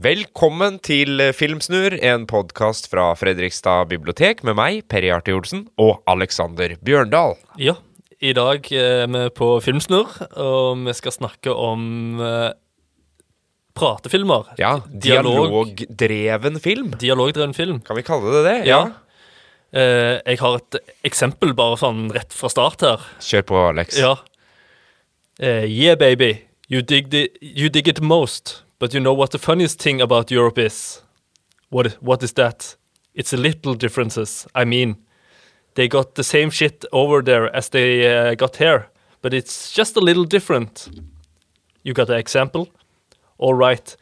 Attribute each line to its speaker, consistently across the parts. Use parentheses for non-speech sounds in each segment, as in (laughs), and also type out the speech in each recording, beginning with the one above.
Speaker 1: Velkommen til Filmsnur, en podkast fra Fredrikstad bibliotek med meg, Perry Arti Olsen, og Alexander Bjørndal.
Speaker 2: Ja, i dag er vi på Filmsnurr, og vi skal snakke om eh, pratefilmer.
Speaker 1: Ja,
Speaker 2: Dialog.
Speaker 1: dialogdreven film.
Speaker 2: Dialogdreven film.
Speaker 1: Kan vi kalle det det?
Speaker 2: Eh, jeg har et eksempel bare sånn rett fra start her.
Speaker 1: Kjør på, Alex.
Speaker 2: Ja. Eh, yeah, baby. You dig, the, you dig it most. But you know what the funniest thing about Europe is? What, what is that? It's the little differences. I mean, they got the same shit over there as they uh, got here, but it's just a little different. You got an example? All right.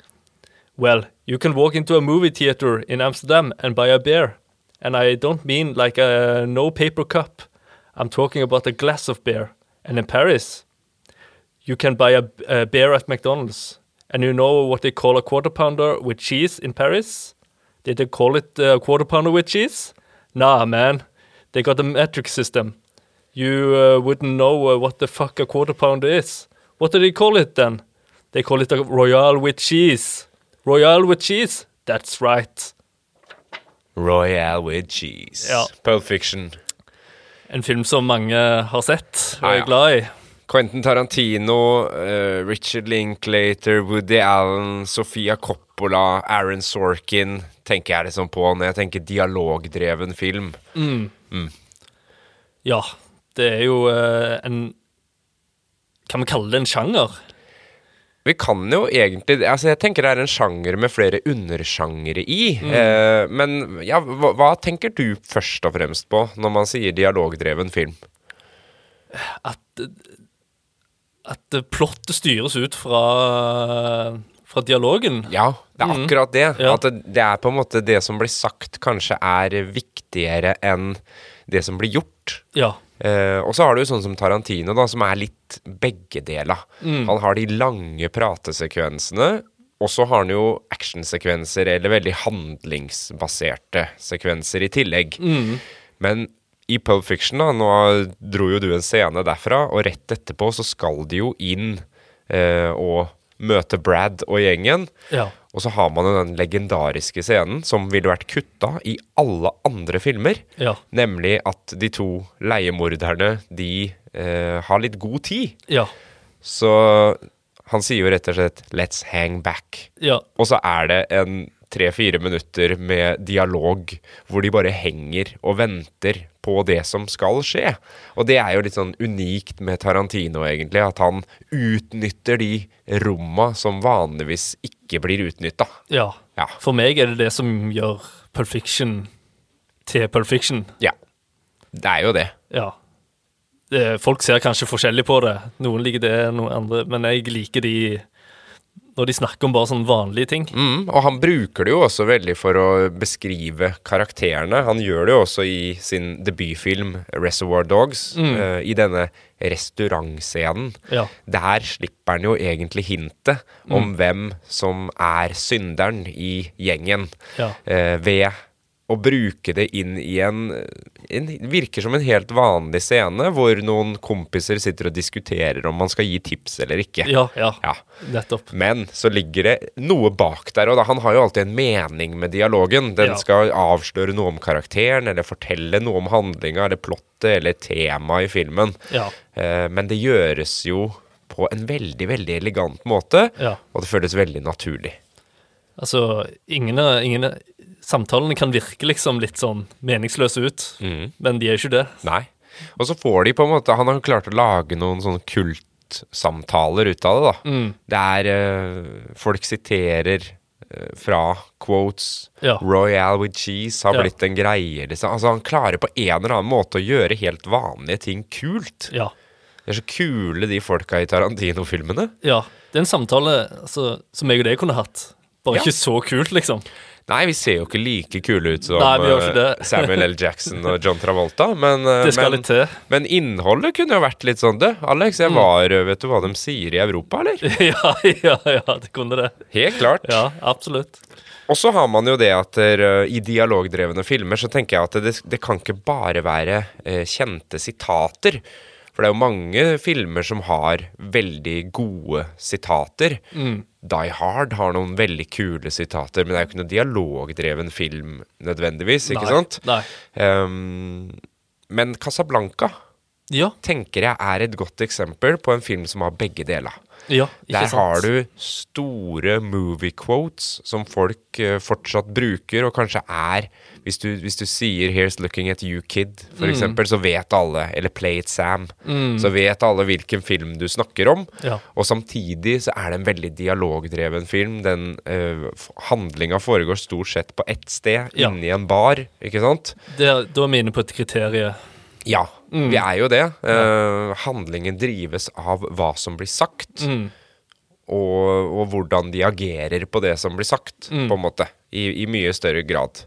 Speaker 2: Well, you can walk into a movie theater in Amsterdam and buy a beer. And I don't mean like a no paper cup. I'm talking about a glass of beer. And in Paris, you can buy a, a beer at McDonald's. And you know what they call a quarter pounder with cheese in Paris? Did they call it uh, a quarter pounder with cheese? Nah, man. They got a metric system. You uh, wouldn't know uh, what the fuck a quarter pounder is. What do they call it then? They call it a royal with cheese. Royal with cheese? That's right.
Speaker 1: Royal with cheese.
Speaker 2: Ja.
Speaker 1: Pulp Fiction.
Speaker 2: En film som mange har sett og
Speaker 1: Ah,
Speaker 2: er
Speaker 1: ja.
Speaker 2: glad i.
Speaker 1: Quentin Tarantino, eh, Richard Linklater, Woody Allen, Sofia Coppola, Aaron Sorkin tenker jeg liksom på når jeg tenker dialogdreven film.
Speaker 2: Ja, det er jo eh, en Kan vi kalle det en sjanger?
Speaker 1: Vi kan jo egentlig altså Jeg tenker det er en sjanger med flere undersjangere i. Eh, men ja, hva, hva tenker du først og fremst på når man sier dialogdreven film?
Speaker 2: At, at plottet styres ut fra, fra dialogen.
Speaker 1: Ja, det er akkurat det.
Speaker 2: Ja.
Speaker 1: At det, det er på en måte det som blir sagt, kanskje er viktigere enn det som blir gjort.
Speaker 2: Ja.
Speaker 1: Eh, og så har du sånn som Tarantino, da, som er litt begge deler. Han har de lange pratesekvensene, og så har han jo actionsekvenser, eller veldig handlingsbaserte sekvenser i tillegg. Men i Pulp Fiction, da, nå dro jo du en scene derfra, og rett etterpå så skal de jo inn eh, og møte Brad og gjengen.
Speaker 2: Ja.
Speaker 1: Og så har man jo den legendariske scenen som ville vært kutta i alle andre filmer.
Speaker 2: Ja.
Speaker 1: Nemlig at de to leiemorderne de eh, har litt god tid.
Speaker 2: Ja.
Speaker 1: Så han sier jo rett og slett 'let's hang back'.
Speaker 2: ja.
Speaker 1: Og så er det en tre-fire minutter med dialog hvor de bare henger og venter på det som skal skje. Og det er jo litt sånn unikt med Tarantino, egentlig. At han utnytter de romma som vanligvis ikke blir utnytta.
Speaker 2: ja.
Speaker 1: Ja.
Speaker 2: For meg er det det som gjør Pulp Fiction til Pulp Fiction.
Speaker 1: Ja. Det er jo det.
Speaker 2: Ja. Eh, Folk ser kanskje forskjellig på det. Noen liker det, noen andre. Men jeg liker de når de snakker om bare sånne vanlige ting.
Speaker 1: Mm, og han bruker det jo også veldig for å beskrive karakterene. Han gjør det jo også i sin debutfilm 'Reservoir Dogs', eh, i denne restaurantscenen.
Speaker 2: Mm. Ja. Mm.
Speaker 1: Der slipper han jo egentlig hintet om hvem som er synderen i gjengen,
Speaker 2: Ja.
Speaker 1: eh, ved å bruke det inn i en, en Virker som en helt vanlig scene, hvor noen kompiser sitter og diskuterer om man skal gi tips eller ikke.
Speaker 2: Ja, ja.
Speaker 1: Ja.
Speaker 2: Nettopp.
Speaker 1: Men så ligger det noe bak der, og da, han har jo alltid en mening med dialogen. Den
Speaker 2: Ja.
Speaker 1: skal avsløre noe om karakteren, eller fortelle noe om handlinga, eller plottet, eller temaet i filmen.
Speaker 2: Ja.
Speaker 1: Eh, men det gjøres jo på en veldig, veldig elegant måte,
Speaker 2: Ja.
Speaker 1: og det føles veldig naturlig.
Speaker 2: Altså, ingen, er- ingen er- Samtalene kan virke liksom litt sånn meningsløse ut, men de er ikke det.
Speaker 1: Nei. Og så får de på en måte Han har klart å lage noen sånne kultsamtaler ut av det, da.
Speaker 2: Mm.
Speaker 1: Det er eh, Folk siterer eh, fra quotes.
Speaker 2: Ja.
Speaker 1: Royal with cheese har
Speaker 2: Ja.
Speaker 1: blitt en greie, liksom. Altså, han klarer på en eller annen måte å gjøre helt vanlige ting kult.
Speaker 2: Ja.
Speaker 1: Det er så kule, de folka i Tarantino-filmene.
Speaker 2: ja. Det er en samtale altså, som jeg og deg kunne hatt. Bare
Speaker 1: Ja.
Speaker 2: ikke så kult, liksom.
Speaker 1: Nei, vi ser jo ikke like kule ut som
Speaker 2: Nei, vi gjør
Speaker 1: eh,
Speaker 2: ikke det.
Speaker 1: Samuel L. Jackson og John Travolta, men, eh,
Speaker 2: Det skal
Speaker 1: men,
Speaker 2: litt til. (laughs)
Speaker 1: men innholdet kunne jo vært litt sånn, du, Alex,
Speaker 2: Mm.
Speaker 1: jeg var eh, Vet du hva de sier i Europa, eller?
Speaker 2: ja, ja, ja, det kunne det.
Speaker 1: Helt klart.
Speaker 2: (laughs) Ja, absolutt.
Speaker 1: Og så har man jo det at eh, i dialogdrevne filmer så tenker jeg at det, det kan ikke bare være eh, kjente øh, sitater. For det er jo mange filmer som har veldig gode sitater.
Speaker 2: Mm.
Speaker 1: Die Hard har noen veldig kule sitater, men det er jo ikke noen dialogdreven film nødvendigvis, ikke
Speaker 2: Nei,
Speaker 1: sant?
Speaker 2: nei.
Speaker 1: Ehm, men Casablanca
Speaker 2: Ja.
Speaker 1: tenker jeg er et godt eksempel på en film som har begge deler.
Speaker 2: ja ikke
Speaker 1: Der
Speaker 2: sant?
Speaker 1: har du store movie quotes som folk eh, fortsatt bruker, og kanskje er Hvis du, hvis du sier 'Here's looking at you, kid', for
Speaker 2: Mm.
Speaker 1: eksempel, så vet alle Eller 'Play it, Sam'. Så vet alle hvilken film du snakker om.
Speaker 2: Ja.
Speaker 1: Og samtidig så er det en veldig dialogdreven film. Den uh, handlinga foregår stort sett på ett sted,
Speaker 2: Ja.
Speaker 1: inni en bar, ikke sant?
Speaker 2: det, er- Da er vi inne på et kriterium.
Speaker 1: Ja, vi er jo det. Eh, handlingen drives av hva som blir sagt, og, og hvordan de agerer på det som blir sagt, på en måte. I, I mye større grad.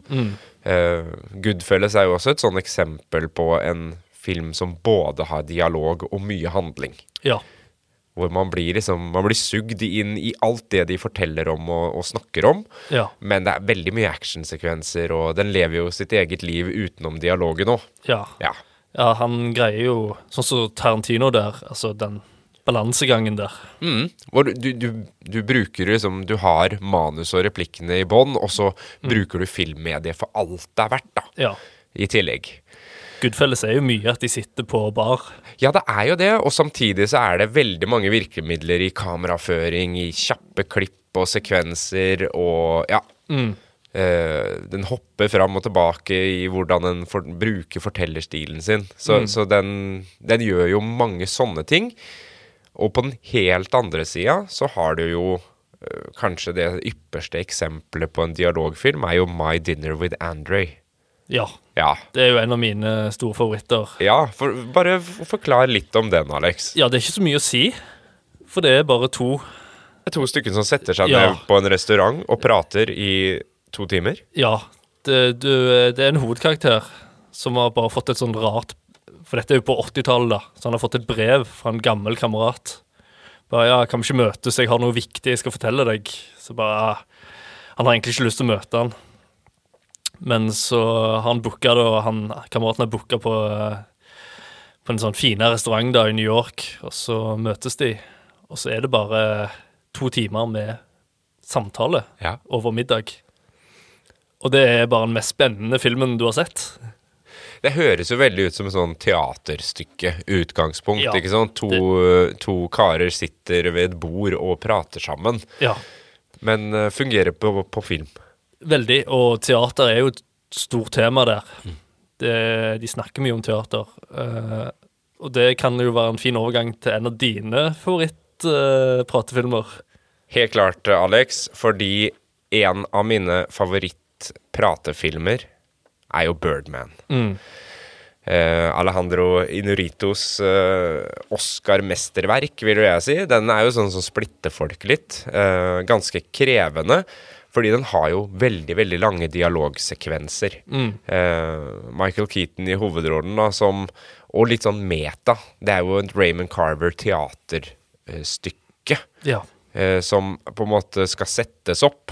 Speaker 1: Eh, Goodfellas er jo også et sånn eksempel på en film som både har dialog og mye handling.
Speaker 2: Ja.
Speaker 1: Hvor man blir, liksom, man blir sugd inn i alt det de forteller om og, og snakker om.
Speaker 2: Ja.
Speaker 1: Men det er veldig mye actionsekvenser, og den lever jo sitt eget liv utenom dialogen òg.
Speaker 2: Ja.
Speaker 1: Ja.
Speaker 2: ja, han greier jo Sånn som Tarantino der, altså den balansegangen der.
Speaker 1: Mm. Hvor du, du, du, du bruker liksom Du har manus og replikkene i bånn, og så bruker du filmmediet for alt det er verdt, da.
Speaker 2: Ja.
Speaker 1: I tillegg.
Speaker 2: Goodfelles er jo mye at de sitter på bar.
Speaker 1: Ja, det er jo det, og samtidig så er det veldig mange virkemidler i kameraføring, i kjappe klipp og sekvenser og ja. Eh, den hopper fram og tilbake i hvordan den for, bruker fortellerstilen sin. Så, så den, den gjør jo mange sånne ting. Og på den helt andre sida så har du jo eh, Kanskje det ypperste eksempelet på en dialogfilm er jo My Dinner with Andre.
Speaker 2: Ja.
Speaker 1: Ja,
Speaker 2: Det er jo en av mine store favoritter.
Speaker 1: ja for, bare f- forklar litt om den, Alex.
Speaker 2: Ja, det er ikke så mye å si, for det er bare to.
Speaker 1: Det er to stykker som setter seg
Speaker 2: Ja.
Speaker 1: ned på en restaurant og prater i to timer.
Speaker 2: Ja. Det, du, eh, det er en hovedkarakter som har bare fått et sånn rart For dette er jo på 80-tallet, da. Så han har fått et brev fra en gammel kamerat. Bare, ja, 'Kan vi ikke møtes? Jeg har noe viktig jeg skal fortelle deg.' Så bare ja. Han har egentlig ikke lyst til å møte han. Men så har han booka det, og han, kameraten har booka på, eh, på en sånn fine restaurant da i New York. Og så møtes de, og så er det bare to timer med samtale
Speaker 1: Ja.
Speaker 2: over middag. Og det er bare den mest spennende filmen du har sett.
Speaker 1: Det høres jo veldig ut som et sånn teaterstykke, utgangspunkt.
Speaker 2: Ja,
Speaker 1: ikke sant? To, to karer sitter ved et bord og prater sammen,
Speaker 2: Ja,
Speaker 1: men eh, fungerer på, på film.
Speaker 2: veldig. Og teater er jo et stort tema der. Det, de snakker mye om teater. Eh, og det kan jo være en fin overgang til en av dine favorittpratefilmer.
Speaker 1: Helt klart, eh, Alex, fordi en av mine favorittpratefilmer er jo Birdman. Eh, Alejandro Inuritos eh, Oscar-mesterverk, vil jo jeg si. Den er jo sånn som splitter folk litt. Eh, ganske krevende. Fordi den har jo veldig veldig lange dialogsekvenser. Eh, Michael Keaton i hovedrollen, da, som, og litt sånn meta. Det er jo et Raymond Carver-teaterstykke
Speaker 2: ja.
Speaker 1: eh, som på en måte skal settes opp.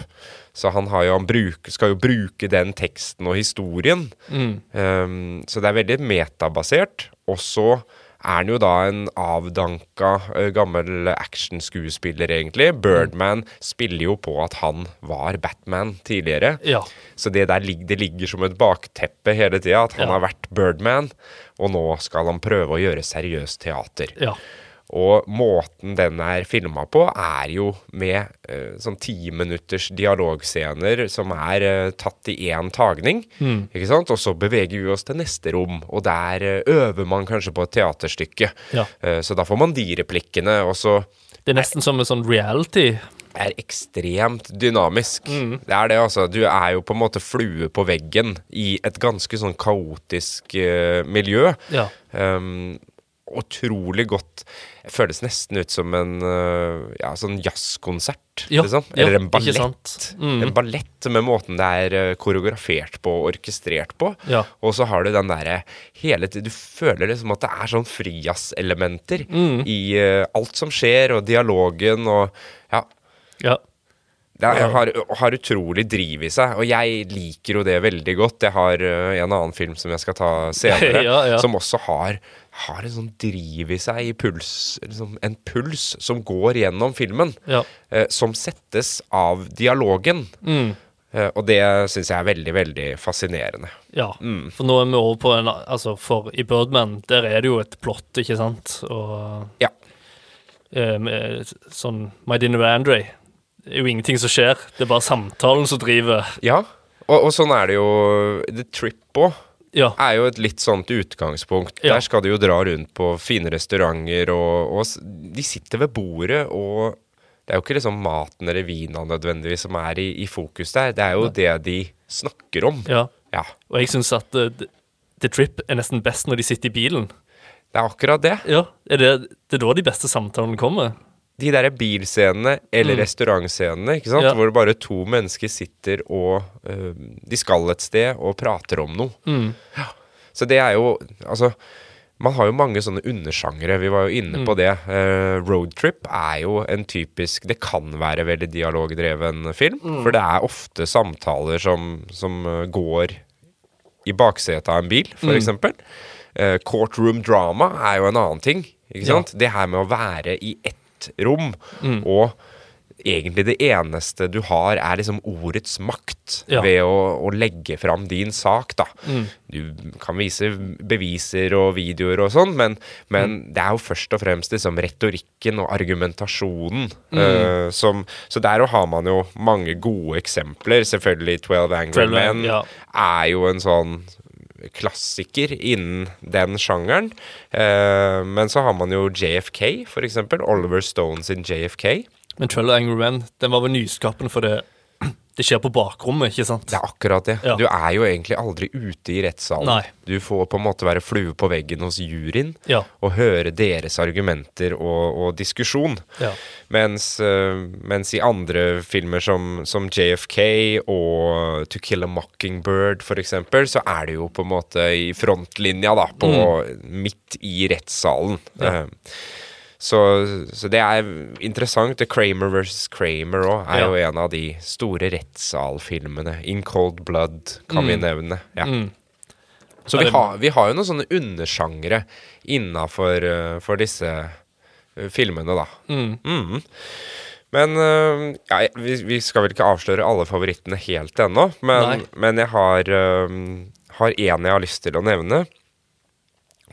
Speaker 1: Så han, har jo, han bruk, skal jo bruke den teksten og historien. Um, så det er veldig metabasert. Og så er han jo da en avdanka eh, gammel actionskuespiller, egentlig. Birdman spiller jo på at han var Batman tidligere.
Speaker 2: Ja.
Speaker 1: Så det der lig- det ligger som et bakteppe hele tida, at han
Speaker 2: Ja.
Speaker 1: har vært Birdman, og nå skal han prøve å gjøre seriøst teater.
Speaker 2: Ja.
Speaker 1: Og måten den er filma på, er jo med eh, sånn timinutters dialogscener som er eh, tatt i én tagning. Ikke sant? Og så beveger vi oss til neste rom, og der eh, øver man kanskje på et teaterstykke.
Speaker 2: Ja.
Speaker 1: Eh, så da får man de replikkene, og så
Speaker 2: Det er nesten som en sånn reality.
Speaker 1: er ekstremt dynamisk. Det er det, altså. Du er jo på en måte flue på veggen i et ganske sånn kaotisk eh, miljø.
Speaker 2: Ja.
Speaker 1: Um, utrolig godt Det føles nesten ut som en uh, ja, sånn jazzkonsert.
Speaker 2: Ja,
Speaker 1: liksom.
Speaker 2: ja,
Speaker 1: Eller en
Speaker 2: ikke
Speaker 1: ballett.
Speaker 2: sant? Mm.
Speaker 1: En ballett med måten det er uh, koreografert på og orkestrert på.
Speaker 2: Ja.
Speaker 1: Og så har du den derre hele tiden Du føler liksom at det er sånn frijazzelementer
Speaker 2: Mm.
Speaker 1: eh, i uh, alt som skjer, og dialogen og Ja.
Speaker 2: ja.
Speaker 1: Det er, har, har utrolig driv i seg, og jeg liker jo det veldig godt. Jeg har øh, en annen film som jeg skal ta senere,
Speaker 2: (laughs) Ja, ja.
Speaker 1: som også har, har en sånn driv i seg, i puls, liksom en puls som går gjennom filmen,
Speaker 2: Ja.
Speaker 1: eh, som settes av dialogen.
Speaker 2: Mm.
Speaker 1: Eh, og det syns jeg er veldig, veldig fascinerende.
Speaker 2: Ja,
Speaker 1: Mm.
Speaker 2: for nå er vi over på en Altså, for i Birdman, der er det jo et plott, ikke sant? Og
Speaker 1: Ja.
Speaker 2: eh, med sånn My Dinner with Andre det er jo ingenting som skjer. Det er bare samtalen som driver.
Speaker 1: ja. Og, og sånn er det jo The Trip òg.
Speaker 2: Ja.
Speaker 1: er jo et litt sånt utgangspunkt.
Speaker 2: Ja.
Speaker 1: Der skal de jo dra rundt på fine restauranter, og, og s- de sitter ved bordet, og det er jo ikke liksom maten eller vina nødvendigvis som er i, i fokus der, det er jo det de snakker om.
Speaker 2: ja.
Speaker 1: Ja,
Speaker 2: Og jeg syns at eh, The- The Trip er nesten best når de sitter i bilen.
Speaker 1: det er akkurat det.
Speaker 2: Ja, er det, det er da de beste samtalene kommer.
Speaker 1: De derre bilscenene eller restaurantscenene, ikke sant,
Speaker 2: Ja.
Speaker 1: hvor det bare to mennesker sitter og øh, De skal et sted og prater om noe. Så det er jo Altså, man har jo mange sånne undersjangere. Vi var jo inne på det. Eh, Roadtrip er jo en typisk Det kan være veldig dialogdreven film. For det er ofte samtaler som, som eh, går i baksetet av en bil,
Speaker 2: Mm.
Speaker 1: for eksempel. Eh, courtroom drama er jo en annen ting. Ikke
Speaker 2: Ja. Mm.
Speaker 1: sant? Det her med å være i ett rom, og egentlig det eneste du har, er liksom ordets makt
Speaker 2: Ja. Mm.
Speaker 1: ved å, å legge fram din sak, da. Du kan vise beviser og videoer og sånn, men, men
Speaker 2: Mm.
Speaker 1: det er jo først og fremst liksom retorikken og argumentasjonen
Speaker 2: Mm.
Speaker 1: eh, som Så der har man jo mange gode eksempler. Selvfølgelig 12 Angry
Speaker 2: 12
Speaker 1: Men
Speaker 2: ja.
Speaker 1: er jo en sånn klassiker innen den sjangeren. Eh, men så har man jo JFK, for eksempel. Oliver Stone sin JFK.
Speaker 2: Men Trell og Angry Men, den var vel nyskapende for det (clears throat) Det skjer på bakrommet, ikke sant?
Speaker 1: Det er akkurat det.
Speaker 2: Ja.
Speaker 1: Du er jo egentlig aldri ute i rettssalen.
Speaker 2: Nei.
Speaker 1: Du får på en måte være flue på veggen hos juryen
Speaker 2: Ja.
Speaker 1: og høre deres argumenter og, og diskusjon.
Speaker 2: Ja.
Speaker 1: Mens, eh, mens i andre filmer som, som JFK og To Kill a Mockingbird for eksempel, så er det jo på en måte i frontlinja, da, på,
Speaker 2: Mm.
Speaker 1: midt i rettssalen. Eh, Så, så det er interessant. The Kramer versus Kramer òg er
Speaker 2: Ja.
Speaker 1: jo en av de store rettssalfilmene. In Cold Blood kan vi nevne. Ja. Så
Speaker 2: Mm. Ja,
Speaker 1: vi
Speaker 2: det-
Speaker 1: har, vi har jo noen sånne undersjangre innafor for disse eh, filmene, da.
Speaker 2: Mm.
Speaker 1: Mhm. Men eh, ja, jeg- vi, vi skal vel ikke avsløre alle favorittene helt ennå. Men,
Speaker 2: Nei.
Speaker 1: men jeg har, eh, har en jeg har lyst til å nevne.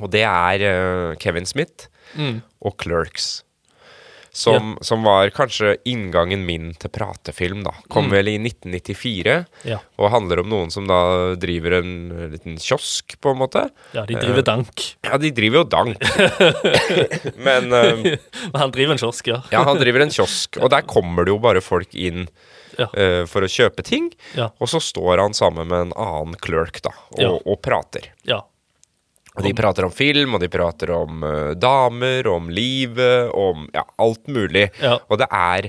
Speaker 1: Og det er eh, Kevin Smith
Speaker 2: Mm.
Speaker 1: og Clerks. Som, som var kanskje inngangen min til pratefilm, da.
Speaker 2: Mm.
Speaker 1: Kom vel i 1994.
Speaker 2: Ja.
Speaker 1: Og handler om noen som da driver en eh, liten kiosk, på en måte.
Speaker 2: ja, de driver dank.
Speaker 1: Ja, de driver jo
Speaker 2: (laughs)
Speaker 1: dank. Men eh,
Speaker 2: Men han driver en kiosk, ja.
Speaker 1: ja, han driver en kiosk, og der kommer det jo bare folk inn
Speaker 2: Ja.
Speaker 1: eh, for å kjøpe ting.
Speaker 2: Ja.
Speaker 1: Og så står han sammen med en annen clerk, da, og,
Speaker 2: Ja.
Speaker 1: og prater.
Speaker 2: ja.
Speaker 1: Og de prater om film, og de prater om eh, damer, om livet, om ja, alt mulig.
Speaker 2: Ja.
Speaker 1: Og det er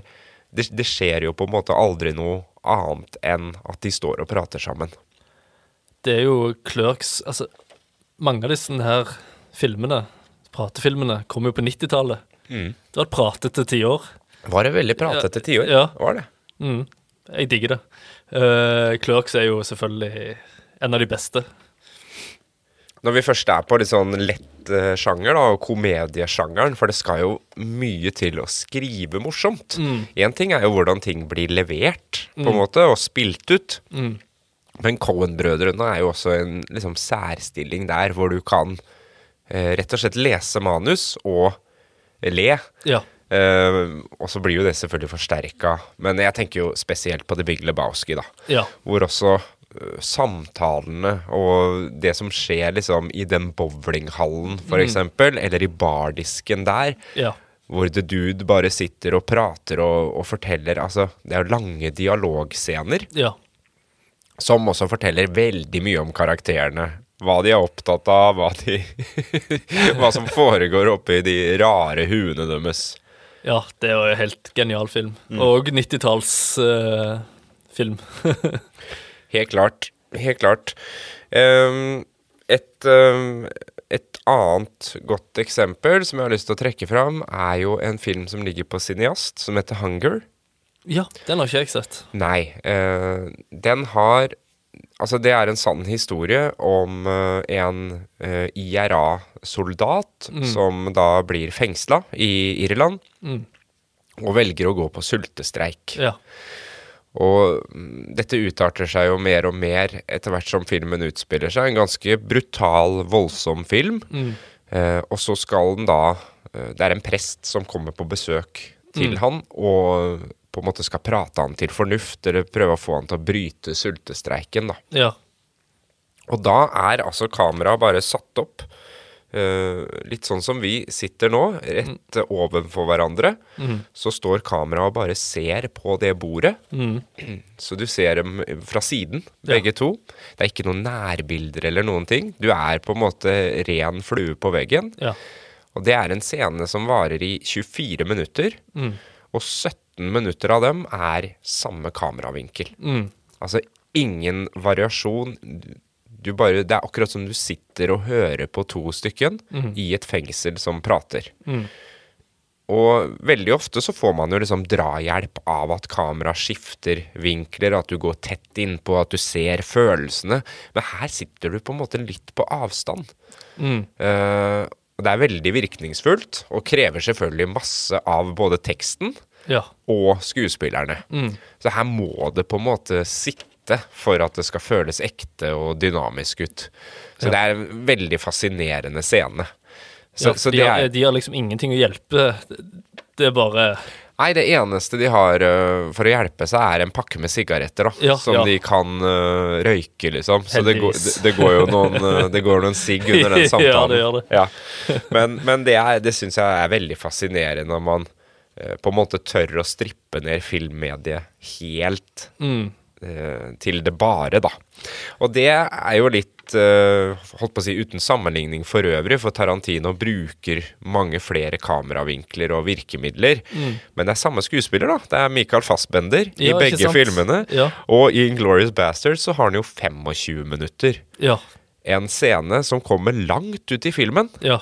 Speaker 1: det, det skjer jo på en måte aldri noe annet enn at de står og prater sammen.
Speaker 2: Det er jo Clerks Altså, mange av disse her filmene, pratefilmene, kom jo på 90-tallet. Det var et pratete tiår.
Speaker 1: Var det veldig pratete tiår?
Speaker 2: Ja.
Speaker 1: Var det?
Speaker 2: Mm. Jeg digger det. Eh, Clerks er jo selvfølgelig en av de beste.
Speaker 1: Når vi først er på litt sånn lett eh, sjanger, da, og komediesjangeren, for det skal jo mye til å skrive morsomt. Én ting er jo hvordan ting blir levert, på en måte, og spilt ut. Men Cohen-brødrene er jo også en liksom, særstilling der, hvor du kan eh, rett og slett lese manus og le.
Speaker 2: Ja.
Speaker 1: Eh, og så blir jo det selvfølgelig forsterka, men jeg tenker jo spesielt på The Big Lebowski, da.
Speaker 2: Ja.
Speaker 1: Hvor også eh, samtalene og det som skjer liksom i den bowlinghallen, for eksempel, eller i bardisken der,
Speaker 2: Ja.
Speaker 1: hvor The Dude bare sitter og prater og, og forteller Altså, det er jo lange dialogscener
Speaker 2: Ja.
Speaker 1: som også forteller veldig mye om karakterene. Hva de er opptatt av, hva, de (laughs) hva som foregår oppi de rare huene deres.
Speaker 2: ja det er jo en helt genial film. Og eh, (laughs) 90-tallsfilm.
Speaker 1: Helt klart. Helt klart. Ehm, et, ehm, et annet godt eksempel som jeg har lyst til å trekke fram, er jo en film som ligger på Cineast, som heter Hunger.
Speaker 2: Ja, den har ikke jeg sett.
Speaker 1: Nei. eh, den har Altså, det er en sann historie om eh, en eh, IRA-soldat som da blir fengsla i Irland. Og velger å gå på sultestreik.
Speaker 2: Ja.
Speaker 1: Og mm, dette utarter seg jo mer og mer etter hvert som filmen utspiller seg. En ganske brutal, voldsom film. Eh, og så skal den da eh, Det er en prest som kommer på besøk til han, og på en måte skal prate han til fornuft, eller prøve å få han til å bryte sultestreiken, da.
Speaker 2: ja.
Speaker 1: Og da er altså kameraet bare satt opp. eh, litt sånn som vi sitter nå, rett eh, ovenfor hverandre. Så står kameraet og bare ser på det bordet. (clears throat) Så du ser dem fra siden, begge to. Det er ikke noen nærbilder eller noen ting. Du er på en måte ren flue på veggen.
Speaker 2: Ja.
Speaker 1: Og det er en scene som varer i 24 minutter. Og 17 minutter av dem er samme kameravinkel. Altså ingen variasjon. Du bare, det er akkurat som du sitter og hører på to stykken i et fengsel som prater. Og veldig ofte så får man jo liksom drahjelp av at kamera skifter vinkler, at du går tett innpå, at du ser følelsene. Men her sitter du på en måte litt på avstand. Eh, og det er veldig virkningsfullt, og krever selvfølgelig masse av både teksten
Speaker 2: Ja.
Speaker 1: og skuespillerne.
Speaker 2: Mm.
Speaker 1: Så her må det på en måte sikte for at det skal føles ekte og dynamisk ut. Så det er en veldig fascinerende scene. Så,
Speaker 2: ja
Speaker 1: så
Speaker 2: de,
Speaker 1: det
Speaker 2: har,
Speaker 1: er,
Speaker 2: de har liksom ingenting å hjelpe. Det er bare
Speaker 1: nei, det eneste de har øh, for å hjelpe seg, er en pakke med sigaretter, da.
Speaker 2: Ja,
Speaker 1: som
Speaker 2: ja.
Speaker 1: de kan øh, røyke, liksom. Så det går, det,
Speaker 2: Heldigvis.
Speaker 1: det går jo noen, øh, det
Speaker 2: (laughs)
Speaker 1: går noen sigg under den
Speaker 2: Ja, det
Speaker 1: samtalen.
Speaker 2: gjør det.
Speaker 1: Ja. Men, men det, er- det syns jeg er veldig fascinerende når man eh, på en måte tør å strippe ned filmmediet helt
Speaker 2: Mm.
Speaker 1: eh, til det bare, da. Og det er jo litt eh, holdt på å si uten sammenligning for øvrig, for Tarantino bruker mange flere kameravinkler og virkemidler. Men det er samme skuespiller, da. Det er Michael Fassbender i
Speaker 2: Mm. Ja, ikke
Speaker 1: begge
Speaker 2: sant?
Speaker 1: filmene.
Speaker 2: Ja.
Speaker 1: Og i Inglorious Bastards så har han jo 25 minutter.
Speaker 2: Ja.
Speaker 1: En scene som kommer langt ut i filmen
Speaker 2: Ja.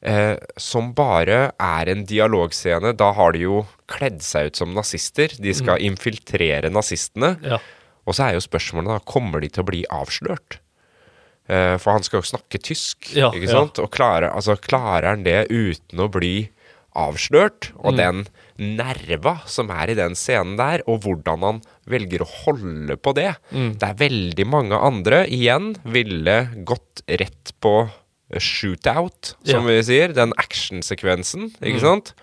Speaker 1: eh, som bare er en dialogscene. Da har de jo kledd seg ut som nazister. De skal infiltrere nazistene.
Speaker 2: Ja.
Speaker 1: Og så er jo spørsmålet da, kommer de til å bli avslørt? Eh, for han skal jo snakke tysk,
Speaker 2: Ja,
Speaker 1: ikke
Speaker 2: ja.
Speaker 1: sant? Og klarer, altså, klarer han det uten å bli avslørt? Og
Speaker 2: Mm.
Speaker 1: den nerva som er i den scenen der, og hvordan han velger å holde på det.
Speaker 2: Mm.
Speaker 1: Det er veldig mange andre, igjen, ville gått rett på shootout, som vi sier. Den actionsekvensen,
Speaker 2: Mm.
Speaker 1: ikke sant?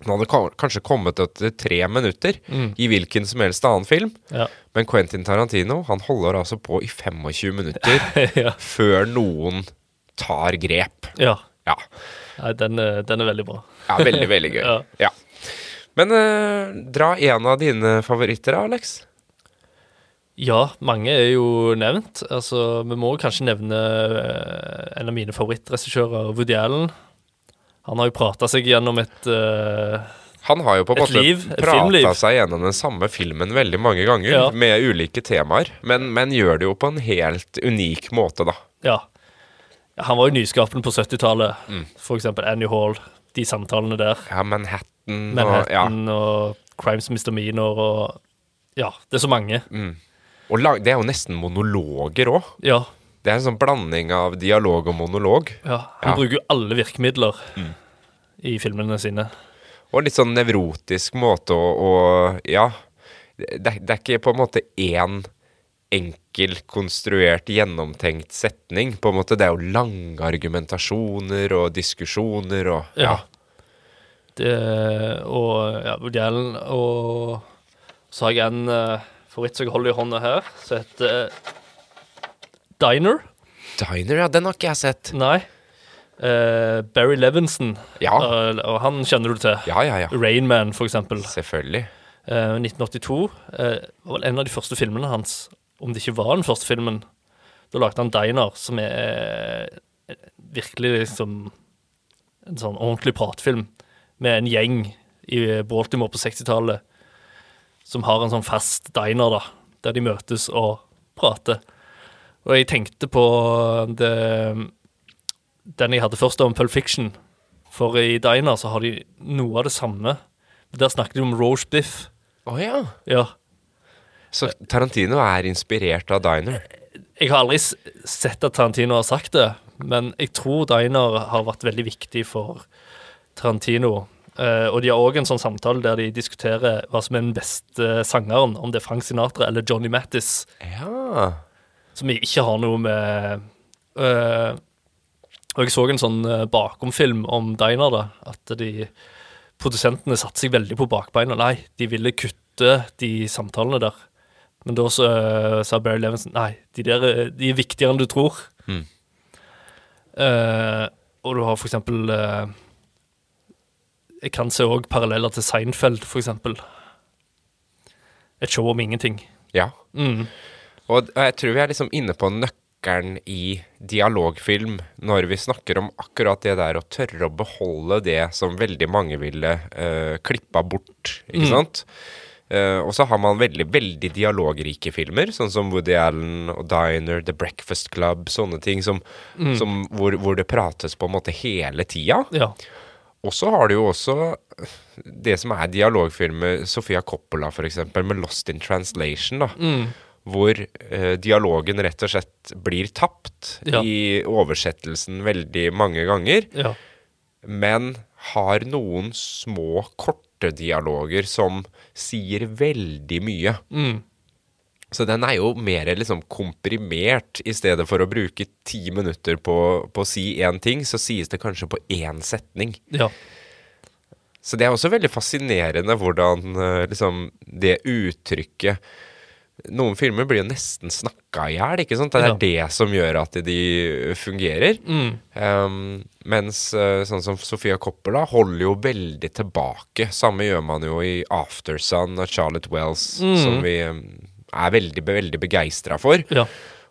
Speaker 1: Den hadde ka- kanskje kommet etter tre minutter
Speaker 2: Mm.
Speaker 1: i hvilken som helst annen film.
Speaker 2: Ja.
Speaker 1: Men Quentin Tarantino han holder altså på i 25 minutter
Speaker 2: (laughs) Ja.
Speaker 1: før noen tar grep.
Speaker 2: ja.
Speaker 1: Ja.
Speaker 2: Nei, den, er- den er veldig bra.
Speaker 1: ja veldig, veldig gøy.
Speaker 2: (laughs) Ja.
Speaker 1: Ja. Men eh, dra en av dine favoritter, da, Alex.
Speaker 2: Ja, mange er jo nevnt. Altså, vi må kanskje nevne eh, en av mine favorittregissører, Woody Allen. Han har jo prata seg gjennom et eh,
Speaker 1: Han har jo på en
Speaker 2: Et liv,
Speaker 1: måte
Speaker 2: et
Speaker 1: prata
Speaker 2: filmliv.
Speaker 1: seg gjennom den samme filmen veldig mange ganger,
Speaker 2: Ja.
Speaker 1: med ulike temaer, men, men gjør det jo på en helt unik måte, da.
Speaker 2: Ja. Han var jo nyskapende på 70-tallet. For eksempel Annie Hall, de samtalene der.
Speaker 1: Ja, Manhattan, og ja.
Speaker 2: Manhattan og Crimes Misdemeanor og Ja, det er så mange.
Speaker 1: Og lag, det er jo nesten monologer òg.
Speaker 2: Ja.
Speaker 1: Det er en sånn blanding av dialog og monolog.
Speaker 2: ja. Han
Speaker 1: Ja.
Speaker 2: bruker jo alle virkemidler i filmene sine.
Speaker 1: Og litt sånn nevrotisk måte å, å Ja. Det, det er ikke på en måte én enkel, konstruert, gjennomtenkt setning. På en måte, Det er jo lange argumentasjoner og diskusjoner og
Speaker 2: Ja. Det, og ja, Woody Allen og så har jeg en eh, favoritt som jeg holder i hånda her, som heter eh, Diner.
Speaker 1: Diner, ja, den har ikke jeg sett.
Speaker 2: Nei. Eh, Barry Levinson.
Speaker 1: Ja.
Speaker 2: Eh, og han kjenner du til.
Speaker 1: Ja, ja, ja.
Speaker 2: Rainman, for eksempel.
Speaker 1: Selvfølgelig.
Speaker 2: Eh, 1982 eh, var vel en av de første filmene hans, om det ikke var den første filmen. Da lagde han Diner, som er eh, virkelig liksom en sånn ordentlig pratfilm med en gjeng i Baltimore på 60-tallet som har en sånn fast diner, da, der de møtes og prater. Og jeg tenkte på det den jeg hadde først om Pulp Fiction. For i Diner så har de noe av det samme. Der snakket de om roast biff
Speaker 1: Å ja.
Speaker 2: Ja.
Speaker 1: Så Tarantino er inspirert av Diner.
Speaker 2: Jeg har aldri s- sett at Tarantino har sagt det, men jeg tror Diner har vært veldig viktig for Tarantino. Eh, og de har òg en sånn samtale der de diskuterer hva som er den beste sangeren, om det er Frank Sinatra eller Johnny Mattis,
Speaker 1: Ja.
Speaker 2: som jeg ikke har noe med eh, Og jeg så en sånn eh, bakomfilm om Diner, da, at de produsentene satte seg veldig på bakbeina. Nei, de ville kutte de samtalene der. Men da så, eh, sa Barry Levinson nei, de der eh, de er viktigere enn du tror.
Speaker 1: Mm.
Speaker 2: Eh, og du har for eksempel eh, Jeg kan se òg paralleller til Seinfeld, for eksempel. Et show om ingenting.
Speaker 1: ja.
Speaker 2: Mm.
Speaker 1: Og, og jeg tror vi er liksom inne på nøkkelen i dialogfilm når vi snakker om akkurat det der å tørre å beholde det som veldig mange ville eh, klippa bort, ikke sant? Eh, og så har man veldig, veldig dialogrike filmer, sånn som Woody Allen og Diner, The Breakfast Club, sånne ting som, som hvor, hvor det prates på en måte hele tida.
Speaker 2: Ja.
Speaker 1: Og så har du jo også det som er dialogfilmer, Sofia Coppola f.eks., med Lost in Translation, da.
Speaker 2: Mm,
Speaker 1: Hvor eh, dialogen rett og slett blir tapt
Speaker 2: Ja.
Speaker 1: i oversettelsen veldig mange ganger,
Speaker 2: ja.
Speaker 1: men har noen små, korte dialoger som sier veldig mye. Så den er jo mer liksom komprimert. I stedet for å bruke ti minutter på, på å si én ting, så sies det kanskje på én setning.
Speaker 2: ja.
Speaker 1: Så det er også veldig fascinerende hvordan eh, liksom, det uttrykket Noen filmer blir jo nesten snakka i hjel, ikke sant? Det er
Speaker 2: Ja.
Speaker 1: det som gjør at de fungerer. Um, mens eh, sånn som Sofia Coppola holder jo veldig tilbake. Samme gjør man jo i Aftersun av Charlotte Wells, som vi eh, er veldig, veldig begeistra for.
Speaker 2: Ja.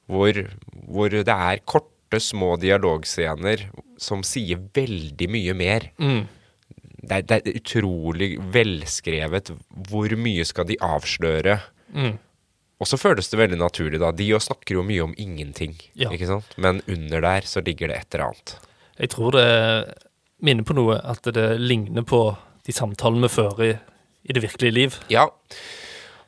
Speaker 1: Hvor, hvor det er korte, små dialogscener som sier veldig mye mer det er, det er utrolig velskrevet. Hvor mye skal de avsløre? Og så føles det veldig naturlig, da. De jo snakker jo mye om ingenting,
Speaker 2: Ja.
Speaker 1: ikke sant? men under der så ligger det et eller annet.
Speaker 2: Jeg tror det minner på noe, at det ligner på de samtalene vi fører i, i det virkelige liv.
Speaker 1: Ja,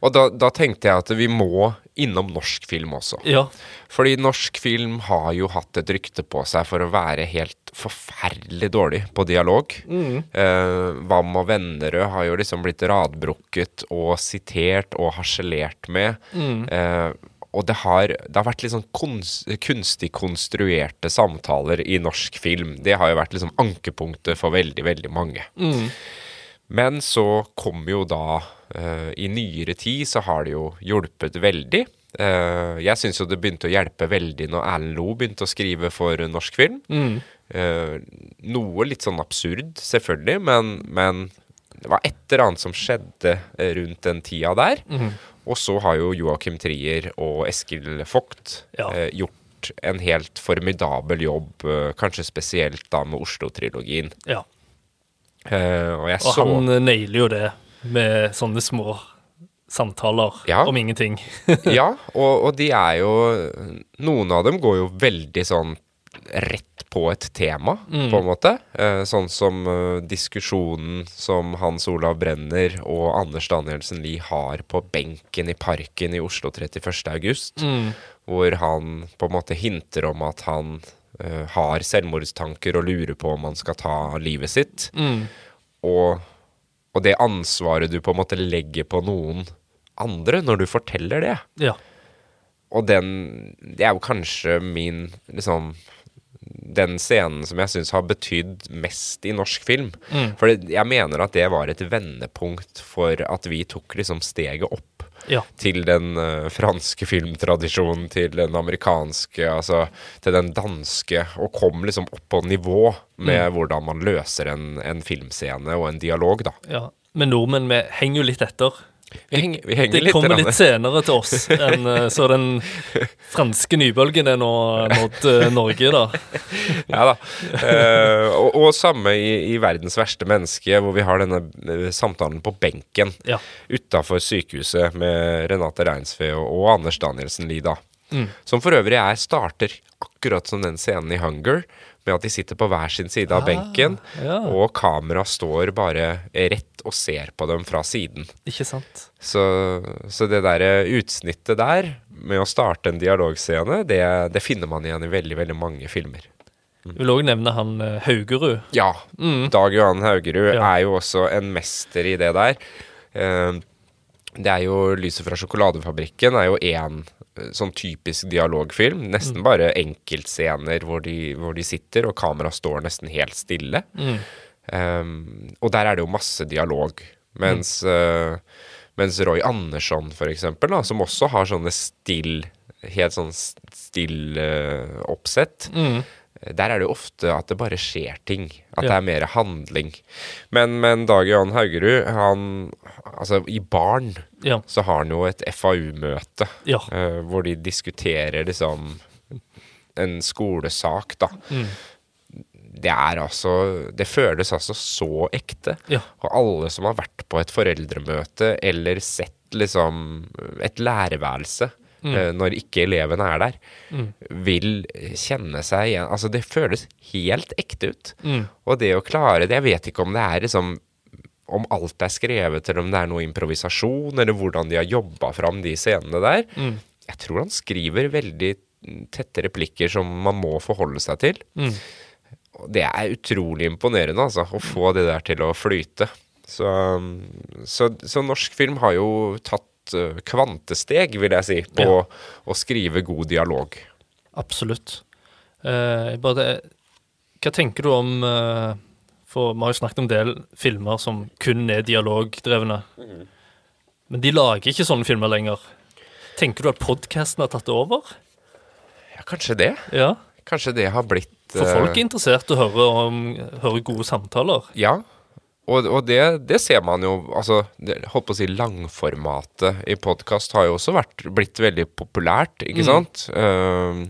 Speaker 1: og da, da tenkte jeg at vi må innom norsk film også.
Speaker 2: Ja.
Speaker 1: Fordi norsk film har jo hatt et rykte på seg for å være helt forferdelig dårlig på dialog. Eh, Wam og Vennerød har jo liksom blitt radbrukket og sitert og harselert med. Eh, og det har, det har vært litt sånn kons, kunstig konstruerte samtaler i norsk film. Det har jo vært liksom ankepunktet for veldig, veldig mange. Men så kom jo da eh, I nyere tid så har det jo hjulpet veldig. Eh, jeg syns jo det begynte å hjelpe veldig når Erlend Loe begynte å skrive for eh, norsk film. Eh, noe litt sånn absurd, selvfølgelig, men, men det var et eller annet som skjedde eh, rundt den tida der.
Speaker 2: Mhm.
Speaker 1: Og så har jo Joakim Trier og Eskil Vogt
Speaker 2: Ja.
Speaker 1: eh, gjort en helt formidabel jobb, eh, kanskje spesielt da med Oslo-trilogien.
Speaker 2: ja.
Speaker 1: Eh, og jeg
Speaker 2: Og
Speaker 1: så
Speaker 2: han eh, nailer jo det med sånne små samtaler
Speaker 1: Ja.
Speaker 2: om ingenting. (laughs)
Speaker 1: (laughs) ja, og, og de er jo Noen av dem går jo veldig sånn rett på et tema, på en måte. Eh, sånn som eh, diskusjonen som Hans Olav Brenner og Anders Danielsen Lie har på benken i parken i Oslo 31. august, hvor han på en måte hinter om at han eh, har selvmordstanker og lurer på om han skal ta livet sitt. Og, og det ansvaret du på en måte legger på noen andre når du forteller det.
Speaker 2: Ja.
Speaker 1: Og den Det er jo kanskje min liksom den scenen som jeg syns har betydd mest i norsk film.
Speaker 2: Mm.
Speaker 1: For det- jeg mener at det var et vendepunkt for at vi tok liksom steget opp
Speaker 2: Ja.
Speaker 1: til den eh, franske filmtradisjonen, til den amerikanske, altså til den danske, og kom liksom opp på nivå med
Speaker 2: Mm.
Speaker 1: hvordan man løser en, en filmscene og en dialog, da.
Speaker 2: ja. Men nordmenn, vi henger jo litt etter.
Speaker 1: Vi henger, vi henger
Speaker 2: Det
Speaker 1: litt,
Speaker 2: kommer
Speaker 1: grann-
Speaker 2: litt senere til oss enn eh, så den franske nybølgen er nå nådd eh, Norge,
Speaker 1: (laughs)
Speaker 2: da.
Speaker 1: Ja da. Eh, og, og samme i, i 'Verdens verste menneske', hvor vi har denne eh, samtalen på benken
Speaker 2: Ja.
Speaker 1: utafor sykehuset med Renate Reinsve og, og Anders Danielsen Lie, da.
Speaker 2: Mm.
Speaker 1: Som for øvrig er starter akkurat som den scenen i Hunger, med at de sitter på hver sin side av benken,
Speaker 2: Ah, ja.
Speaker 1: og kamera står bare rett og ser på dem fra siden.
Speaker 2: Ikke sant?
Speaker 1: Så, så det derre utsnittet der, med å starte en dialogscene, det, det finner man igjen i veldig, veldig mange filmer. Mm.
Speaker 2: Jeg vil òg nevne han eh, Haugerud.
Speaker 1: Ja. Dag Johan Haugerud
Speaker 2: Ja.
Speaker 1: er jo også en mester i det der. Eh, Det er jo 'Lyset fra sjokoladefabrikken' er jo én sånn typisk dialogfilm. Nesten bare enkeltscener hvor de, hvor de sitter, og kameraet står nesten helt stille. Eh, og der er det jo masse dialog. Mens, eh, mens Roy Andersson, for eksempel, da, som også har sånne still Helt sånn still eh, oppsett. Eh, Der er det jo ofte at det bare skjer ting. At det
Speaker 2: Ja.
Speaker 1: er mer handling. Men, men Dag Johan Haugerud, han Altså, i Barn
Speaker 2: Ja.
Speaker 1: så har han jo et FAU-møte
Speaker 2: Ja.
Speaker 1: eh, hvor de diskuterer liksom en skolesak, da.
Speaker 2: Mm.
Speaker 1: Det er altså Det føles altså så ekte.
Speaker 2: Ja.
Speaker 1: Og alle som har vært på et foreldremøte eller sett liksom et lærerværelse
Speaker 2: Mm.
Speaker 1: eh, når ikke eleven er der, vil kjenne seg igjen Altså, det føles helt ekte ut.
Speaker 2: Mm.
Speaker 1: Og det å klare det Jeg vet ikke om det er liksom om alt er skrevet, eller om det er noe improvisasjon, eller hvordan de har jobba fram de scenene der.
Speaker 2: Mm.
Speaker 1: Jeg tror han skriver veldig tette replikker som man må forholde seg til.
Speaker 2: Mm.
Speaker 1: Og det er utrolig imponerende, altså, å få det der til å flyte. Så, så, så norsk film har jo tatt eh, kvantesteg, vil jeg si, på
Speaker 2: Ja.
Speaker 1: å skrive god dialog.
Speaker 2: Absolutt. Eh, jeg bare, hva tenker du om eh, For vi har jo snakket om en del filmer som kun er dialogdrevne. Men de lager ikke sånne filmer lenger. Tenker du at podkasten har tatt over?
Speaker 1: Ja, kanskje det.
Speaker 2: Ja.
Speaker 1: Kanskje det har blitt
Speaker 2: For
Speaker 1: eh,
Speaker 2: folk er interessert i å høre, om, høre gode samtaler.
Speaker 1: Ja, og, og det, det ser man jo altså, det, Holdt på å si langformatet i podkast har jo også vært, blitt veldig populært, ikke sant? Ehm,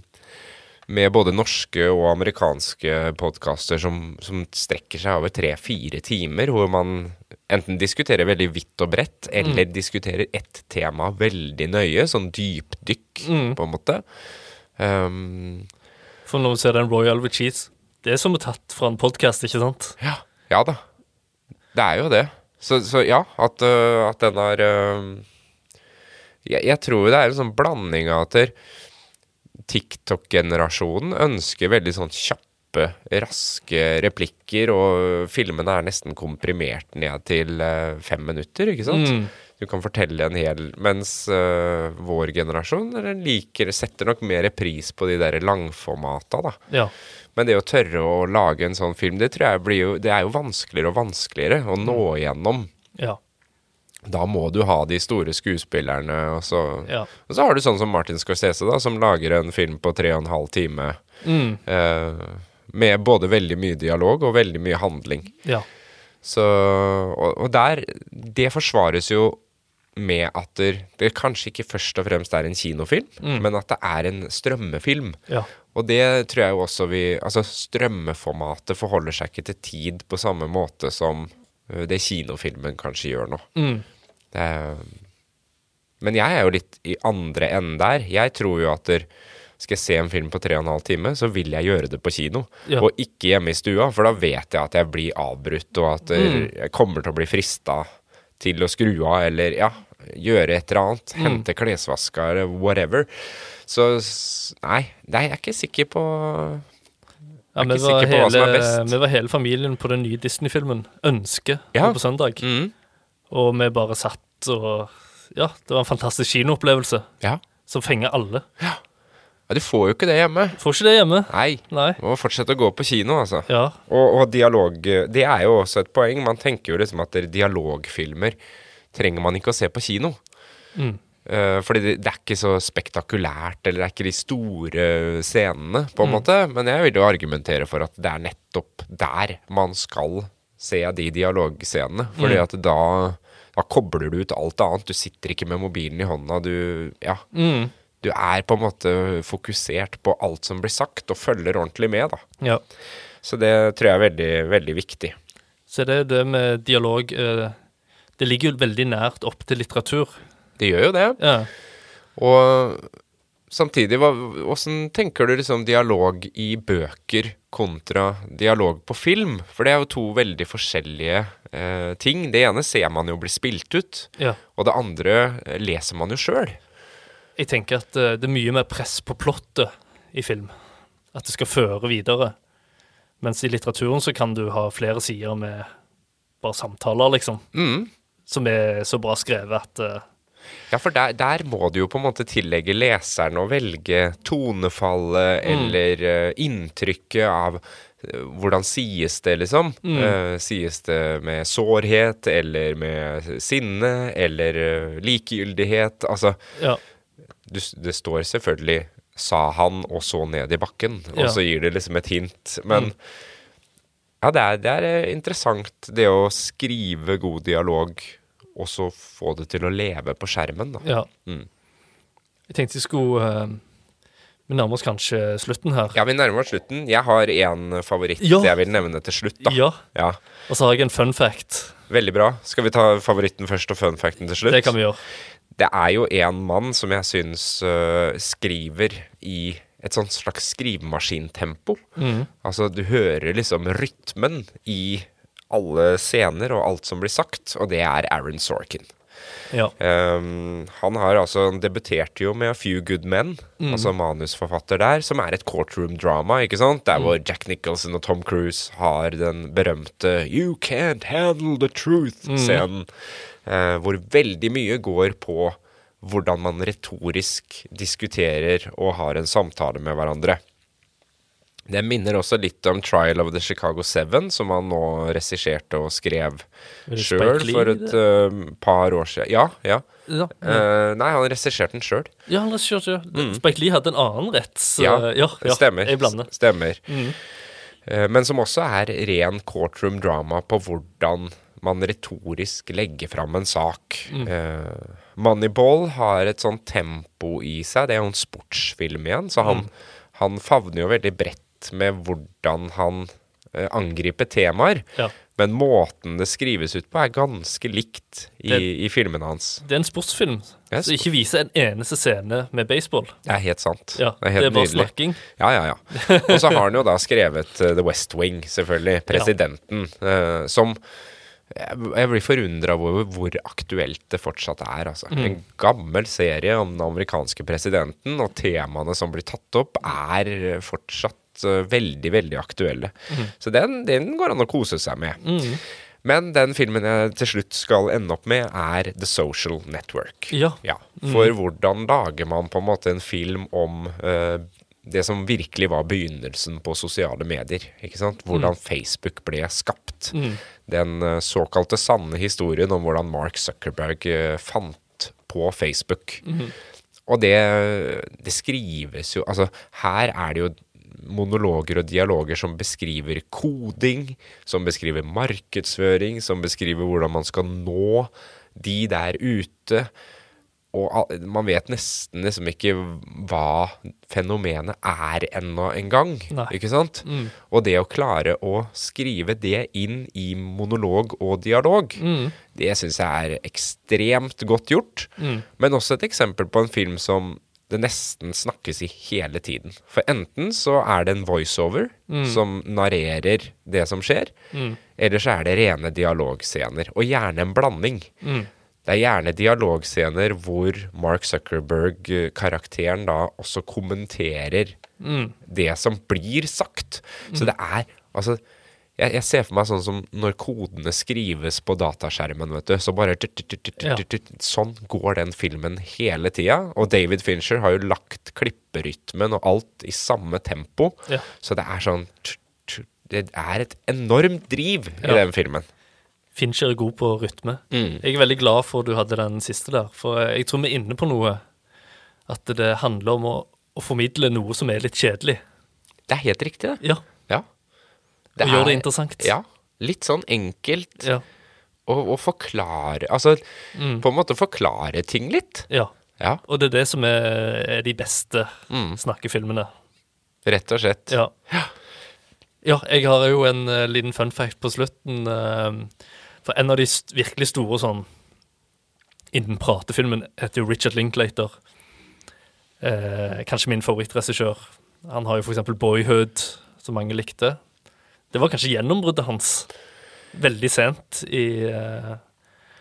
Speaker 1: med både norske og amerikanske podkaster som, som strekker seg over tre-fire timer, hvor man enten diskuterer veldig vidt og bredt, eller diskuterer ett tema veldig nøye, sånn dypdykk, på en måte. Ehm,
Speaker 2: For når vi ser den Royal with Cheese Det er som er tatt fra en podkast, ikke sant?
Speaker 1: Ja, ja da. Det er jo det. Så, så ja, at, øh, at den har øh, jeg, jeg tror det er en sånn blanding av at der TikTok-generasjonen ønsker veldig sånn kjappe, raske replikker, og filmene er nesten komprimert ned til øh, fem minutter, ikke sant? Du kan fortelle en hel Mens øh, vår generasjon eller liker, setter nok mer pris på de der langformata, da.
Speaker 2: Ja.
Speaker 1: Men det å tørre å lage en sånn film, det tror jeg blir jo Det er jo vanskeligere og vanskeligere å nå igjennom.
Speaker 2: Ja.
Speaker 1: Da må du ha de store skuespillerne, og så
Speaker 2: Ja.
Speaker 1: Og så har du sånn som Martin Scorsese, da, som lager en film på tre og en halv time.
Speaker 2: Mm.
Speaker 1: Eh, med både veldig mye dialog og veldig mye handling.
Speaker 2: ja.
Speaker 1: Så, og, og der Det forsvares jo med at det, det kanskje ikke først og fremst er en kinofilm, men at det er en strømmefilm.
Speaker 2: Ja.
Speaker 1: Og det tror jeg jo også vi Altså, strømmeformatet forholder seg ikke til tid på samme måte som ø, det kinofilmen kanskje gjør nå.
Speaker 2: Mm.
Speaker 1: Det er- men jeg er jo litt i andre enden der. Jeg tror jo at der, skal jeg se en film på tre og en halv time, så vil jeg gjøre det på kino.
Speaker 2: Ja.
Speaker 1: Og ikke hjemme i stua, for da vet jeg at jeg blir avbrutt, og at der, jeg kommer til å bli frista til å skru av, eller ja, gjøre et eller annet. Hente klesvaska, eller whatever. Så s- nei, nei, jeg er ikke sikker på
Speaker 2: Ja,
Speaker 1: Jeg er ikke
Speaker 2: vi, var
Speaker 1: sikker på hva som er
Speaker 2: hele,
Speaker 1: best.
Speaker 2: vi var hele familien på den nye Disney-filmen 'Ønske'
Speaker 1: Ja. Mm.
Speaker 2: nå på søndag. Og vi bare satt og Ja, det var en fantastisk kinoopplevelse
Speaker 1: Ja.
Speaker 2: som fenger alle.
Speaker 1: ja. Du får jo ikke det hjemme.
Speaker 2: Får ikke det hjemme.
Speaker 1: Nei.
Speaker 2: Nei.
Speaker 1: Må fortsette å gå på kino, altså.
Speaker 2: Ja.
Speaker 1: Og, og dialog Det er jo også et poeng. Man tenker jo liksom at det- dialogfilmer trenger man ikke å se på kino.
Speaker 2: Mm.
Speaker 1: Eh, fordi det, det er ikke så spektakulært, eller det er ikke de store scenene, på en måte. Men jeg vil jo argumentere for at det er nettopp der man skal se de dialogscenene. Fordi at da, da kobler du ut alt annet. Du sitter ikke med mobilen i hånda. Du, ja,
Speaker 2: Mm.
Speaker 1: du er på en måte fokusert på alt som blir sagt, og følger ordentlig med, da.
Speaker 2: ja.
Speaker 1: Så det tror jeg er veldig, veldig viktig.
Speaker 2: Så det er det med dialog eh, Det ligger jo veldig nært opp til litteratur.
Speaker 1: Det gjør jo det.
Speaker 2: Ja.
Speaker 1: Og Samtidig, hva, hvordan tenker du liksom dialog i bøker kontra dialog på film? For det er jo to veldig forskjellige eh, ting. Det ene ser man jo blir spilt ut,
Speaker 2: Ja.
Speaker 1: og det andre eh, leser man jo sjøl.
Speaker 2: Jeg tenker at eh, det er mye mer press på plottet i film. At det skal føre videre. Mens i litteraturen så kan du ha flere sider med bare samtaler, liksom.
Speaker 1: Mm.
Speaker 2: Som er så bra skrevet at eh,
Speaker 1: Ja, for der, der må du jo på en måte tillegge leseren å velge tonefallet eller eh, inntrykket av eh, hvordan sies det, liksom? Eh, sies det med sårhet, eller med sinne, eller eh, likegyldighet? Altså,
Speaker 2: Ja.
Speaker 1: du, s- det står selvfølgelig 'sa han', og så ned i bakken,
Speaker 2: Ja.
Speaker 1: og så gir det liksom et hint. Men ja, det er, det er eh, interessant, det å skrive god dialog, og så få det til å leve på skjermen, da.
Speaker 2: ja.
Speaker 1: Mm.
Speaker 2: Jeg tenkte jeg skulle eh, Vi nærmer oss kanskje slutten her.
Speaker 1: Ja, vi nærmer oss slutten. Jeg har én favoritt
Speaker 2: Ja.
Speaker 1: jeg vil nevne til slutt. da.
Speaker 2: Ja.
Speaker 1: Ja,
Speaker 2: Og så har jeg en fun fact.
Speaker 1: Veldig bra. Skal vi ta favoritten først og fun facten til slutt?
Speaker 2: Det kan vi gjøre.
Speaker 1: Det er jo en mann som jeg syns øh, skriver i et sånt slags skrivemaskintempo.
Speaker 2: Mm.
Speaker 1: Altså, du hører liksom rytmen i alle scener og alt som blir sagt, og det er Aaron Sorkin.
Speaker 2: Ja.
Speaker 1: Ehm, han har altså han debuterte jo med A Few Good Men,
Speaker 2: Mm.
Speaker 1: altså manusforfatter der, som er et courtroom drama, ikke sant?
Speaker 2: Mm.
Speaker 1: Der hvor Jack Nicholson og Tom Cruise har den berømte You can't handle the truth-scenen.
Speaker 2: Mm.
Speaker 1: eh, hvor veldig mye går på hvordan man retorisk diskuterer og har en samtale med hverandre. Det minner også litt om Trial of the Chicago Seven, som han nå regisserte og skrev
Speaker 2: Er det
Speaker 1: sjøl
Speaker 2: Spike Lee,
Speaker 1: for et eh, par år siden. Ja, ja.
Speaker 2: Ja,
Speaker 1: Eh, nei, han regisserte den sjøl.
Speaker 2: ja la oss kjøre. Spike Lee hadde en annen retts... eh, Mm. ja, ja,
Speaker 1: stemmer.
Speaker 2: Jeg blander. Mm.
Speaker 1: S- stemmer. Eh, men som også er ren courtroom drama på hvordan man retorisk legger fram en sak.
Speaker 2: Mm.
Speaker 1: Eh, Moneyball har et sånt tempo i seg. Det er jo en sportsfilm igjen, så
Speaker 2: Mm.
Speaker 1: han, han favner jo veldig bredt med hvordan han eh, angriper temaer.
Speaker 2: Ja.
Speaker 1: Men måten det skrives ut på, er ganske likt i,
Speaker 2: Det-
Speaker 1: i filmene hans.
Speaker 2: Det er en sportsfilm
Speaker 1: Ja,
Speaker 2: som ikke viser en eneste scene med baseball.
Speaker 1: Det er helt sant.
Speaker 2: Ja,
Speaker 1: det er helt
Speaker 2: bare
Speaker 1: nydelig.
Speaker 2: snakking.
Speaker 1: Ja, ja, ja. Og så har han jo da skrevet eh, The West Wing, selvfølgelig. Presidenten. eh, som jeg jeg blir forundra over hvor aktuelt det fortsatt er. Altså. En gammel serie om den amerikanske presidenten, og temaene som blir tatt opp, er eh, fortsatt eh, veldig, veldig aktuelle. Så den, den går an å kose seg med. Men den filmen jeg til slutt skal ende opp med, er The Social Network.
Speaker 2: Ja.
Speaker 1: Ja, for hvordan lager man på en måte en film om eh, det som virkelig var begynnelsen på sosiale medier? ikke sant? Hvordan Facebook ble skapt. Den eh, såkalte sanne historien om hvordan Mark Zuckerberg eh, fant på Facebook. Og det, det skrives jo Altså, her er det jo monologer og dialoger som beskriver koding, som beskriver markedsføring, som beskriver hvordan man skal nå de der ute og al- man vet nesten liksom ikke hva fenomenet er ennå engang.
Speaker 2: Nei.
Speaker 1: Ikke sant? Og det å klare å skrive det inn i monolog og dialog, det syns jeg er ekstremt godt gjort. Men også et eksempel på en film som det nesten snakkes i hele tiden. For enten så er det en voiceover som narrerer det som skjer, eller så er det rene dialogscener. Og gjerne en blanding. Det er gjerne dialogscener hvor Mark Zuckerberg-karakteren da også kommenterer
Speaker 2: Mm.
Speaker 1: det som blir sagt. Så det er Altså, jeg, jeg ser for meg sånn som når kodene skrives på dataskjermen, vet du. Så bare tut, tut, tut, tut,
Speaker 2: Ja.
Speaker 1: tut, tut. Sånn går den filmen hele tida. Og David Fincher har jo lagt klipperytmen og alt i samme tempo.
Speaker 2: Ja.
Speaker 1: Så det er sånn tut, tut. Det er et enormt driv
Speaker 2: Ja.
Speaker 1: i den filmen.
Speaker 2: Fincher er god på rytme.
Speaker 1: Mm.
Speaker 2: Jeg er veldig glad for at du hadde den siste der, for jeg tror vi er inne på noe. At det handler om å, å formidle noe som er litt kjedelig.
Speaker 1: Det er helt riktig, det.
Speaker 2: Ja.
Speaker 1: Ja.
Speaker 2: Og gjør det interessant.
Speaker 1: Ja. Litt sånn enkelt
Speaker 2: Ja.
Speaker 1: å, å forklare Altså
Speaker 2: Mm.
Speaker 1: på en måte forklare ting litt.
Speaker 2: ja.
Speaker 1: Ja,
Speaker 2: Og det er det som er, er de beste
Speaker 1: Mm.
Speaker 2: snakkefilmene.
Speaker 1: rett og slett.
Speaker 2: Ja. ja, jeg har jo en eh, liten fun fact på slutten. eh, for en av de st virkelig store sånn innen pratefilmen heter jo Richard Linklater. Eh, kanskje min favorittregissør. Han har jo f.eks. Boyhood, som mange likte. Det var kanskje gjennombruddet hans. Veldig sent i eh,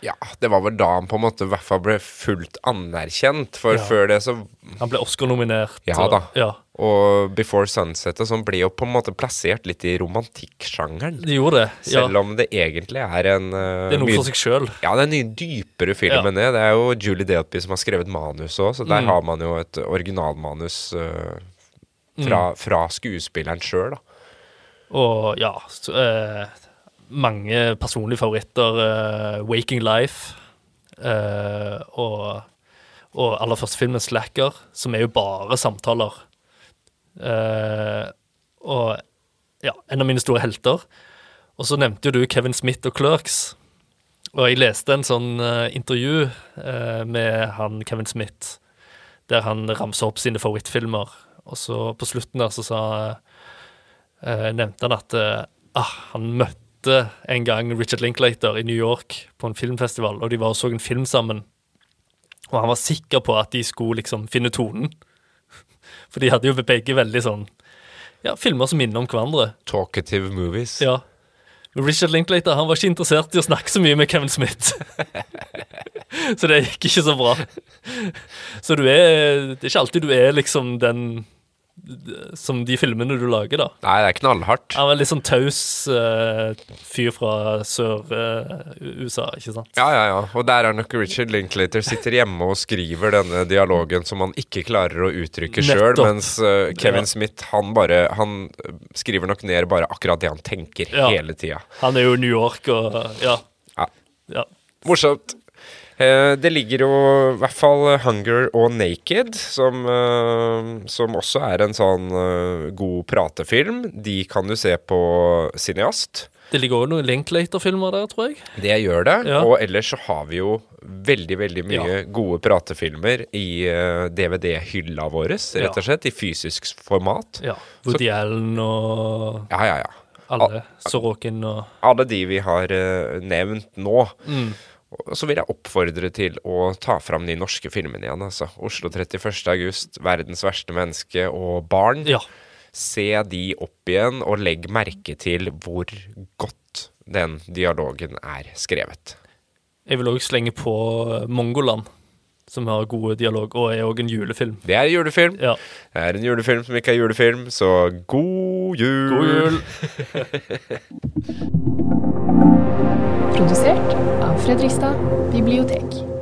Speaker 1: Ja, det var vel da han på en måte i hvert fall ble fullt anerkjent, for
Speaker 2: Ja.
Speaker 1: før det så
Speaker 2: Han ble Oscar-nominert.
Speaker 1: Ja
Speaker 2: og-
Speaker 1: da.
Speaker 2: Ja,
Speaker 1: Og Before Sunset og sånn ble jo på en måte plassert litt i romantikksjangeren.
Speaker 2: de gjorde det. Ja,
Speaker 1: Selv om det egentlig er en eh,
Speaker 2: det er noe
Speaker 1: mye-
Speaker 2: for seg sjøl.
Speaker 1: Ja, det er en mye dypere film
Speaker 2: Ja. Mm.
Speaker 1: enn det. Det er jo Julie Delpy som har skrevet manuset òg, så der har man jo et originalmanus eh, fra,
Speaker 2: Mm.
Speaker 1: fra skuespilleren sjøl, da.
Speaker 2: Og ja så, eh, Mange personlige favoritter. Eh, 'Waking Life' eh, og, og aller første filmen 'Slacker', som er jo bare samtaler. Eh, og ja, en av mine store helter. Og så nevnte jo du Kevin Smith og Clerks. Og jeg leste en sånn eh, intervju eh, med han Kevin Smith, der han ramsa opp sine favorittfilmer. Og så på slutten der så sa eh, nevnte han at eh, ah, han møtte en gang Richard Linklater i New York på en filmfestival, og de var og så en film sammen. Og han var sikker på at de skulle liksom finne tonen. (laughs) For de hadde jo begge veldig sånn Ja, filmer som minner om hverandre.
Speaker 1: Talkative movies.
Speaker 2: Ja. Men Richard Linklater han var ikke interessert i å snakke så mye med Kevin Smith. (laughs) så det gikk ikke så bra. Så du er Det er ikke alltid du er liksom den Som de filmene du lager, da.
Speaker 1: Nei, det er knallhardt.
Speaker 2: Han var litt sånn taus eh, fyr fra sør-USA, ikke sant?
Speaker 1: Ja, ja, ja. Og der er nok Richard Linklater sitter hjemme og skriver denne dialogen som han ikke klarer å uttrykke sjøl,
Speaker 2: Nettopp.
Speaker 1: mens eh,
Speaker 2: Ja.
Speaker 1: Kevin Smith, han bare Han eh, skriver nok ned bare akkurat det han tenker
Speaker 2: Ja.
Speaker 1: hele tida.
Speaker 2: Han er jo i New York og ja.
Speaker 1: Ja.
Speaker 2: ja.
Speaker 1: Morsomt. Eh, det ligger jo i hvert fall Hunger og Naked, som, eh, som også er en sånn eh, god pratefilm. De kan du se på Cineast.
Speaker 2: Det ligger òg noen Linklater-filmer der, tror jeg.
Speaker 1: Det gjør det.
Speaker 2: Ja.
Speaker 1: Og ellers så har vi jo veldig, veldig mye gode pratefilmer i eh, DVD-hylla vår,
Speaker 2: Ja.
Speaker 1: rett og slett. I fysisk format.
Speaker 2: Ja. Woody Allen og
Speaker 1: Ja, ja, ja.
Speaker 2: alle. Sorokin og
Speaker 1: alle de vi har eh, nevnt nå.
Speaker 2: Mm.
Speaker 1: Og Så vil jeg oppfordre til å ta fram de norske filmene igjen. Altså. Oslo 31. august, 'Verdens verste menneske' og 'Barn'.
Speaker 2: Ja.
Speaker 1: Se de opp igjen, og legg merke til hvor godt den dialogen er skrevet.
Speaker 2: Jeg vil òg slenge på eh, Mongoland, som har gode dialog, og er òg en julefilm.
Speaker 1: Det er julefilm.
Speaker 2: Ja.
Speaker 1: Det er en julefilm som ikke er julefilm, så god jul!
Speaker 2: God jul!
Speaker 3: Produsert av Fredrikstad bibliotek.